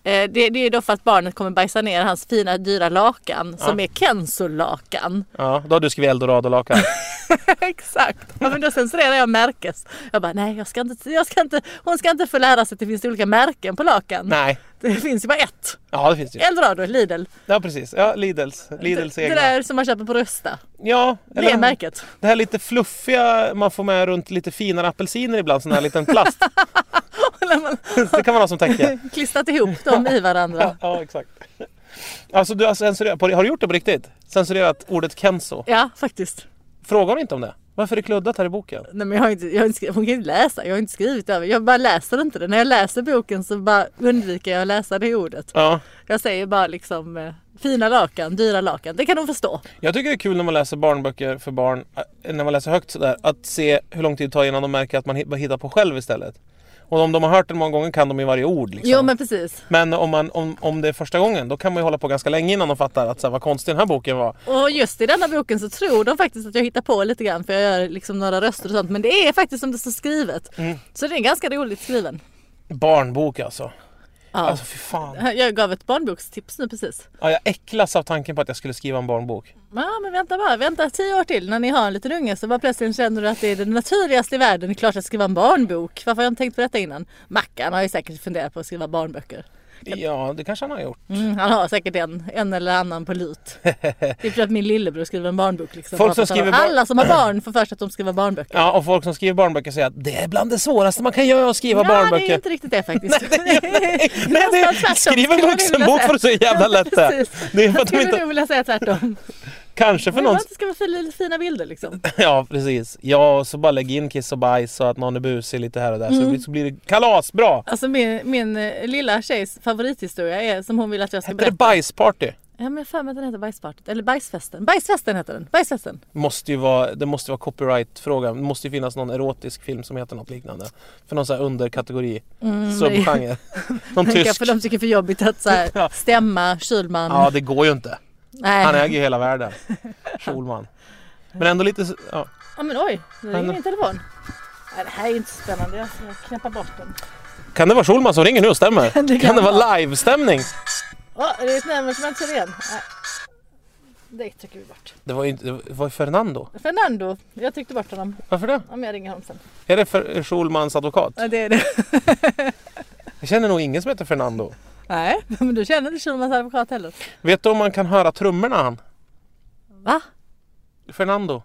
[SPEAKER 1] Eh, Det, det är då för att barnet kommer bajsa ner hans fina dyra lakan som är Kenzo-lakan.
[SPEAKER 2] Ja, då har du skrivit eldorado-lakan.
[SPEAKER 1] Exakt. Ja, men då censurerar jag märkes. Jag bara nej, jag ska inte, jag ska inte, hon ska inte få lära sig att det finns olika märken på lakan.
[SPEAKER 2] Nej.
[SPEAKER 1] Det finns ju bara ett.
[SPEAKER 2] Ja, det finns det ju.
[SPEAKER 1] Eldorado, Lidl.
[SPEAKER 2] Ja, precis. Ja, Lidls. Lidls
[SPEAKER 1] det, det
[SPEAKER 2] egna.
[SPEAKER 1] där som man köper på Rusta.
[SPEAKER 2] ja,
[SPEAKER 1] Det är märket.
[SPEAKER 2] det här lite fluffiga man får med runt lite finare apelsiner ibland, sån här liten plast.
[SPEAKER 1] När man
[SPEAKER 2] det kan man ha som tanke.
[SPEAKER 1] klistrat ihop dem i varandra.
[SPEAKER 2] Ja, exakt. Alltså du har censurerat, på- har du gjort det på riktigt? Censurerat ordet Kenzo?
[SPEAKER 1] Ja, faktiskt.
[SPEAKER 2] Frågar du inte om det? Varför är det kluddat här i boken?
[SPEAKER 1] Nej, men jag har inte, jag har inte, skri- hon kan ju inte läsa, jag har inte skrivit över. Jag bara läser inte det. När jag läser boken så bara undviker jag att läsa det ordet.
[SPEAKER 2] Ja.
[SPEAKER 1] Jag säger bara liksom eh, fina lakan, dyra lakan. Det kan hon förstå.
[SPEAKER 2] Jag tycker det är kul när man läser barnböcker för barn, äh, när man läser högt sådär, att se hur lång tid det tar innan de märker att man hit- hittar på själv istället. Och om de har hört den många gånger kan de ju varje ord. Liksom.
[SPEAKER 1] Jo men precis.
[SPEAKER 2] Men om, man, om, om det är första gången då kan man ju hålla på ganska länge innan de fattar att så här, vad konstig den här boken var.
[SPEAKER 1] Och just i denna boken så tror de faktiskt att jag hittar på lite grann för jag gör liksom några röster och sånt. Men det är faktiskt som det står skrivet.
[SPEAKER 2] Mm.
[SPEAKER 1] Så det är ganska roligt skriven.
[SPEAKER 2] Barnbok alltså.
[SPEAKER 1] Ja.
[SPEAKER 2] Alltså fy fan.
[SPEAKER 1] Jag gav ett barnbokstips nu precis.
[SPEAKER 2] Ja, jag äcklas av tanken på att jag skulle skriva en barnbok.
[SPEAKER 1] Ja men vänta bara, vänta tio år till när ni har en liten unge så bara plötsligt känner du att det är det naturligaste i världen. Det är klart jag ska skriva en barnbok. Varför har jag inte tänkt på detta innan? Mackan har ju säkert funderat på att skriva barnböcker.
[SPEAKER 2] Ja, det kanske han har gjort.
[SPEAKER 1] Mm, han har säkert en, en eller annan på lut. Det är för att min lillebror skriver en barnbok. Liksom,
[SPEAKER 2] Folk
[SPEAKER 1] Bara
[SPEAKER 2] som
[SPEAKER 1] för att han-
[SPEAKER 2] skriver bar-
[SPEAKER 1] Alla som har barn får för sig att de skriver barnböcker.
[SPEAKER 2] Ja, och folk som skriver barnböcker säger att det är bland det svåraste man kan göra att skriva barnböcker.
[SPEAKER 1] det är inte riktigt det faktiskt.
[SPEAKER 2] Nej, det
[SPEAKER 1] Nästan tvärtom,
[SPEAKER 2] är, skriv en
[SPEAKER 1] skulle man vilja
[SPEAKER 2] vuxenbok
[SPEAKER 1] säga.
[SPEAKER 2] för att så jävla lätt det är.
[SPEAKER 1] Precis.
[SPEAKER 2] Det är för
[SPEAKER 1] Jag
[SPEAKER 2] att de
[SPEAKER 1] skulle
[SPEAKER 2] inte...
[SPEAKER 1] nog vilja säga tvärtom.
[SPEAKER 2] Kanske för
[SPEAKER 1] Men man
[SPEAKER 2] någon...
[SPEAKER 1] inte ska vara fina, fina bilder liksom.
[SPEAKER 2] Ja, precis. Ja, och så bara lägg in kiss och bajs och att någon är busig lite här och där. Så, blir- så blir det kalasbra!
[SPEAKER 1] Alltså min, min eh, lilla tjejs favorithistoria är som hon vill att jag ska
[SPEAKER 2] Heter det
[SPEAKER 1] berätta.
[SPEAKER 2] bajsparty?
[SPEAKER 1] Ja men jag har för mig att den heter Bajspartet. Eller Bajsfesten. Bajsfesten heter den. Bajsfesten.
[SPEAKER 2] Måste ju vara, det måste vara copyright-fråga. Det måste ju finnas någon erotisk film som heter något liknande. För någon sån här underkategori.
[SPEAKER 1] Mm,
[SPEAKER 2] subgenre. Någon
[SPEAKER 1] Tysk.
[SPEAKER 2] tysk.
[SPEAKER 1] För de tycker det är för jobbigt att så här, stämma Schulman.
[SPEAKER 2] Ja, det går ju inte.
[SPEAKER 1] Nej.
[SPEAKER 2] Han äger ju hela världen. Schulman. Men ändå lite... s- Ja.
[SPEAKER 1] Ja men oj, nu
[SPEAKER 2] Han-
[SPEAKER 1] ringer min telefon. Nej det här är inte spännande. Jag ska knäppa bort den.
[SPEAKER 2] Kan det vara Schulman som ringer nu? Stämmer?
[SPEAKER 1] Det kan
[SPEAKER 2] Kan det vara livestämning?
[SPEAKER 1] Åh, det är ett nummer som jag inte känner igen. Nej. Det trycker vi bort.
[SPEAKER 2] Det var ju inte, det var ju Fernando.
[SPEAKER 1] Fernando, jag tryckte bort honom.
[SPEAKER 2] Varför det?
[SPEAKER 1] Om jag ringer honom sen.
[SPEAKER 2] Är det för Schulmans advokat?
[SPEAKER 1] Ja, det är det.
[SPEAKER 2] Jag känner nog ingen som heter Fernando.
[SPEAKER 1] Nej, men du känner inte Schulmans advokat heller.
[SPEAKER 2] Vet du om man kan höra trummorna han?
[SPEAKER 1] Va?
[SPEAKER 2] Fernando.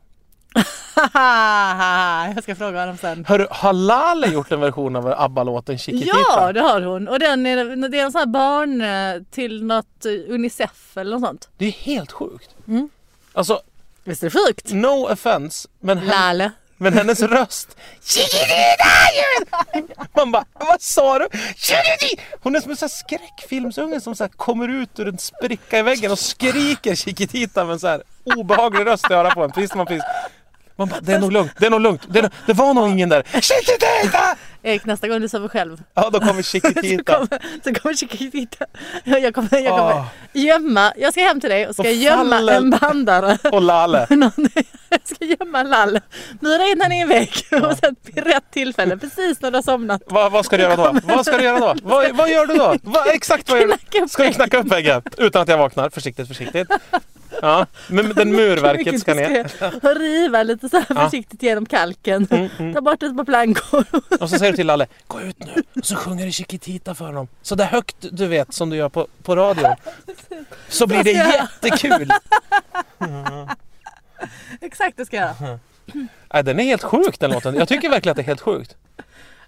[SPEAKER 1] jag ska fråga honom sen.
[SPEAKER 2] Hör, har Lale gjort en version av ABBA-låten Chiquitita?
[SPEAKER 1] Ja, det har hon. Och den är, det är en sån här barn eh, till något eh, Unicef eller något sånt.
[SPEAKER 2] Det är helt sjukt.
[SPEAKER 1] Mm.
[SPEAKER 2] Alltså,
[SPEAKER 1] Visst är det sjukt?
[SPEAKER 2] no offense, men, hen-
[SPEAKER 1] Lale.
[SPEAKER 2] men hennes röst. Chiquitita! you- Man bara, vad sa du? Chiquitita! Hon är som en sån här skräckfilmsunge som så här kommer ut ur en spricka i väggen och skriker Chiquitita med en så här obehaglig röst att höra på en. Precis när man precis... Man bara, det är nog lugnt, det är nog lugnt. Det, är nog, det var nog ingen där. Chiquitita!
[SPEAKER 1] Erik, nästa gång du sover själv
[SPEAKER 2] Ja, då kommer
[SPEAKER 1] så
[SPEAKER 2] Chiquitita.
[SPEAKER 1] kommer, så kommer Chiquitita. Jag kommer, jag kommer
[SPEAKER 2] Ah.
[SPEAKER 1] gömma. Jag ska hem till dig och ska
[SPEAKER 2] Och
[SPEAKER 1] gömma
[SPEAKER 2] faller-
[SPEAKER 1] en bandare.
[SPEAKER 2] Och Lale.
[SPEAKER 1] Någon- Jag ska gömma Lall. Mura in henne i en vägg och sen vid rätt tillfälle, precis när du har somnat.
[SPEAKER 2] Va, vad ska du göra då? Vad ska du göra då? Vad, vad gör du då? Va, exakt vad gör
[SPEAKER 1] Knacka
[SPEAKER 2] du?
[SPEAKER 1] upp
[SPEAKER 2] Ska du knacka upp väggen? Utan att jag vaknar. Försiktigt, försiktigt. Ja, men den murverket ska ner.
[SPEAKER 1] Mycket diskret. Och riva lite så här
[SPEAKER 2] Ja. Mm,
[SPEAKER 1] försiktigt genom kalken. Ta bort ett par plankor.
[SPEAKER 2] Och så säger du till Lalle, gå ut nu. Och så sjunger du Chiquitita för honom. Så där högt du vet som du gör på, på radion. Så blir det jättekul.
[SPEAKER 1] Exakt det ska jag göra.
[SPEAKER 2] Nej, den är helt sjuk den låten. Jag tycker verkligen att det är helt sjukt.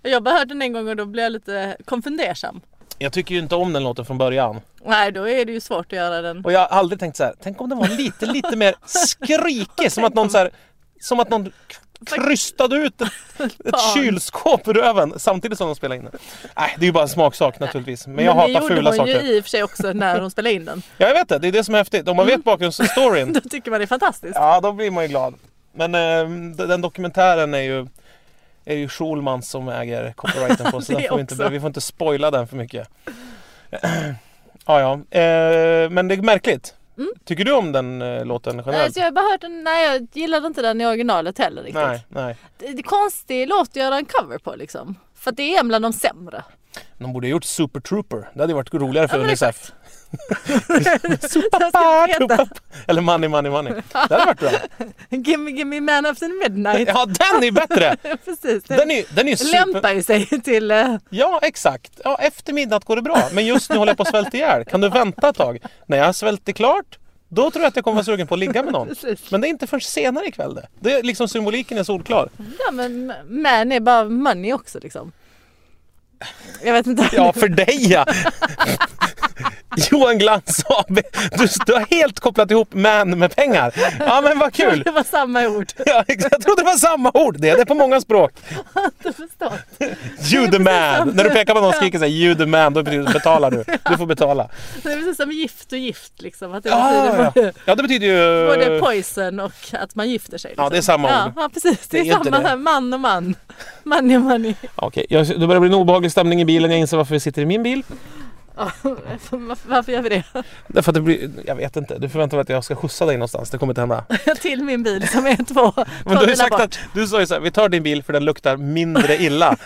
[SPEAKER 1] Jag bara hörde den en gång och då blev jag lite konfundersam.
[SPEAKER 2] Jag tycker ju inte om den låten från början.
[SPEAKER 1] Nej, då är det ju svårt att göra den.
[SPEAKER 2] Och jag har aldrig tänkt så här, tänk om den var lite, lite mer skrikig. Som att någon så här, som att någon krystade ut ett, ett
[SPEAKER 1] Fan.
[SPEAKER 2] kylskåp ur röven samtidigt som de spelade in den. Nej, det är ju bara en smaksak naturligtvis. Men jag
[SPEAKER 1] Men det
[SPEAKER 2] hatar
[SPEAKER 1] gjorde
[SPEAKER 2] fula
[SPEAKER 1] hon
[SPEAKER 2] saker.
[SPEAKER 1] ju i och för sig också när hon spelade in den.
[SPEAKER 2] Ja, jag vet det. Det är det som är häftigt. Om man
[SPEAKER 1] Mm.
[SPEAKER 2] vet bakgrundsstoryn,
[SPEAKER 1] Då tycker man det är fantastiskt.
[SPEAKER 2] ja då blir man ju glad. Men eh, d- den dokumentären är ju är ju Schulman som äger copyrighten på så
[SPEAKER 1] Det
[SPEAKER 2] den får vi,
[SPEAKER 1] också.
[SPEAKER 2] inte, vi får inte spoila den för mycket. ja, ja. Eh, men det är märkligt. Tycker du om den eh, låten
[SPEAKER 1] Mm. Nej,
[SPEAKER 2] generellt?
[SPEAKER 1] så jag har bara hört den, nej jag gillade inte den i originalet heller riktigt.
[SPEAKER 2] Nej, nej.
[SPEAKER 1] Det, det är konstig låt att göra en cover på liksom. För att det är en bland de sämre.
[SPEAKER 2] De borde ha gjort Super Trooper. Det hade ju varit roligare för
[SPEAKER 1] Ja, men
[SPEAKER 2] Unicef. Ah,
[SPEAKER 1] Jag ska inte veta.
[SPEAKER 2] Eller Money Money Money. Det hade varit bra.
[SPEAKER 1] Gimme, gimme man of the midnight.
[SPEAKER 2] Ja, den är bättre!
[SPEAKER 1] Precis. Det
[SPEAKER 2] Den är, den är super...
[SPEAKER 1] lämpar ju sig till... eh,
[SPEAKER 2] Ja, exakt. Ja, efter midnatt går det bra. Men just nu håller jag på att svälta ihjäl. Kan du vänta ett tag? När jag har svällt klart, då tror jag att jag kommer vara sugen på att ligga med någon.
[SPEAKER 1] Precis.
[SPEAKER 2] Men det är inte förrän senare ikväll det. det är liksom symboliken är solklar.
[SPEAKER 1] Ja men man är bara money också liksom. Jag vet inte.
[SPEAKER 2] Ja, för dig ja! Johan Glans AB. Du, du har helt kopplat ihop man med pengar. Ja, men vad kul!
[SPEAKER 1] Det var samma ord.
[SPEAKER 2] Ja, exakt. jag trodde det var samma ord. Det är det på många språk.
[SPEAKER 1] Jag förstår.
[SPEAKER 2] You the man. När du pekar på någon och skriker så här, you the man, då betyder det betalar du. Du får betala. Ah,
[SPEAKER 1] Det är precis som gift och gift liksom. Att det betyder
[SPEAKER 2] Ja, ja.
[SPEAKER 1] både,
[SPEAKER 2] ja, det betyder ju...
[SPEAKER 1] både poison och att man gifter sig. Liksom.
[SPEAKER 2] Ja, det är samma
[SPEAKER 1] ja,
[SPEAKER 2] ord.
[SPEAKER 1] Ja precis, det är,
[SPEAKER 2] Det är inte
[SPEAKER 1] samma
[SPEAKER 2] det.
[SPEAKER 1] här man och man. Money och money.
[SPEAKER 2] Okej, jag, det börjar bli en obehaglig stämning i bilen. Jag inser varför vi sitter i min bil.
[SPEAKER 1] Ja, varför, varför gör vi det?
[SPEAKER 2] Därför att det blir... Jag vet inte. Du förväntar dig att jag ska skjutsa dig någonstans. Det kommer inte hända.
[SPEAKER 1] Till min bil som är två, två
[SPEAKER 2] Men du har ju
[SPEAKER 1] bilar
[SPEAKER 2] sagt
[SPEAKER 1] bort.
[SPEAKER 2] att... Du sa ju så här, vi tar din bil för den luktar mindre illa.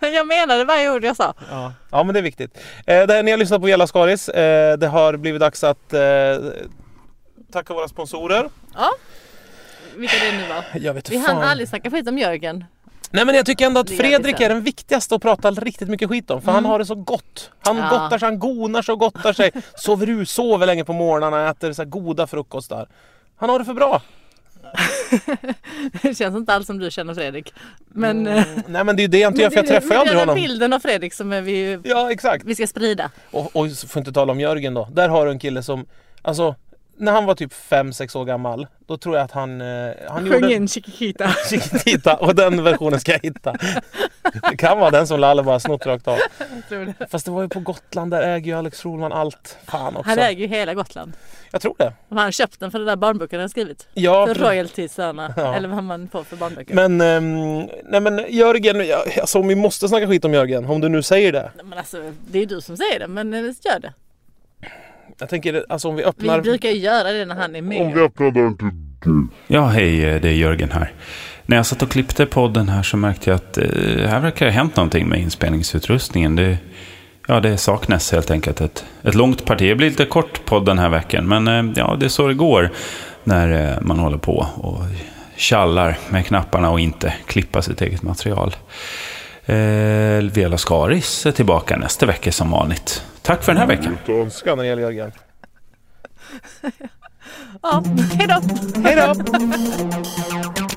[SPEAKER 1] Men jag menade varje ord jag sa.
[SPEAKER 2] ja. ja, men det är viktigt. Eh, det här, ni har lyssnat på Jella Skaris. Eh, det har blivit dags att eh, tacka våra sponsorer.
[SPEAKER 1] Ja. Vilka det nu var.
[SPEAKER 2] Jag vet
[SPEAKER 1] Vi
[SPEAKER 2] fan.
[SPEAKER 1] hann aldrig snacka skit om Jörgen.
[SPEAKER 2] Nej men jag tycker ändå att
[SPEAKER 1] Det gör vi
[SPEAKER 2] Fredrik
[SPEAKER 1] sen. Mm.
[SPEAKER 2] är den viktigaste att prata riktigt mycket skit om för han har det så gott. Han
[SPEAKER 1] Ja.
[SPEAKER 2] gottar sig, han gonar sig och gottar sig. Sover ut, sover länge på morgnarna, äter så här goda frukostar. Han har det för bra.
[SPEAKER 1] Det känns inte alls som du känner Fredrik. Men,
[SPEAKER 2] Mm, Nej men det är ju det jag inte gör för jag
[SPEAKER 1] det-
[SPEAKER 2] träffar ju
[SPEAKER 1] men det är
[SPEAKER 2] aldrig
[SPEAKER 1] den
[SPEAKER 2] honom.
[SPEAKER 1] bilden av Fredrik som är vi, ju-
[SPEAKER 2] Ja exakt.
[SPEAKER 1] vi ska sprida.
[SPEAKER 2] Och, och så får inte tala om Jörgen då. Där har du en kille som, alltså när han var typ 5-6 år gammal då tror jag att han, eh, han
[SPEAKER 1] Sjung
[SPEAKER 2] gjorde
[SPEAKER 1] in Chiquita.
[SPEAKER 2] Chiquitita och den versionen ska jag hitta. Det kan vara den som Lalle bara snott rakt av.
[SPEAKER 1] Jag tror det.
[SPEAKER 2] Fast det var ju på Gotland, där äger ju Alex Schulman allt. Fan också.
[SPEAKER 1] Han äger ju hela Gotland.
[SPEAKER 2] Jag tror det.
[SPEAKER 1] Och han köpte den för den där barnboken han skrivit.
[SPEAKER 2] Ja,
[SPEAKER 1] För
[SPEAKER 2] pre-
[SPEAKER 1] royaltiesarna.
[SPEAKER 2] Ja.
[SPEAKER 1] Eller vad man får för barnböcker. Men,
[SPEAKER 2] men, ehm, nej men Jörgen, jag- alltså om vi måste snacka skit om Jörgen, om du nu säger det.
[SPEAKER 1] alltså, det är ju du som säger det, men eh, gör det.
[SPEAKER 2] Jag tänker alltså om vi
[SPEAKER 1] Vi
[SPEAKER 2] öppnar...
[SPEAKER 1] brukar ju göra det när han är med.
[SPEAKER 4] Ja, hej, eh, det är Jörgen här. När jag satt och klippte podden här så märkte jag att eh, här verkar det ha hänt någonting med inspelningsutrustningen. Det, ja, det saknas helt enkelt ett, ett långt parti. Det blir lite kort podd den här veckan, men eh, ja, det är så det går när eh, man håller på och tjallar med knapparna och inte klippa sitt eget material. Eh, Vela Skaris är tillbaka nästa vecka som vanligt. Tack för den här veckan.
[SPEAKER 2] Önskan när det gäller Jörgen.
[SPEAKER 1] Ja, hejdå!
[SPEAKER 2] Hej då!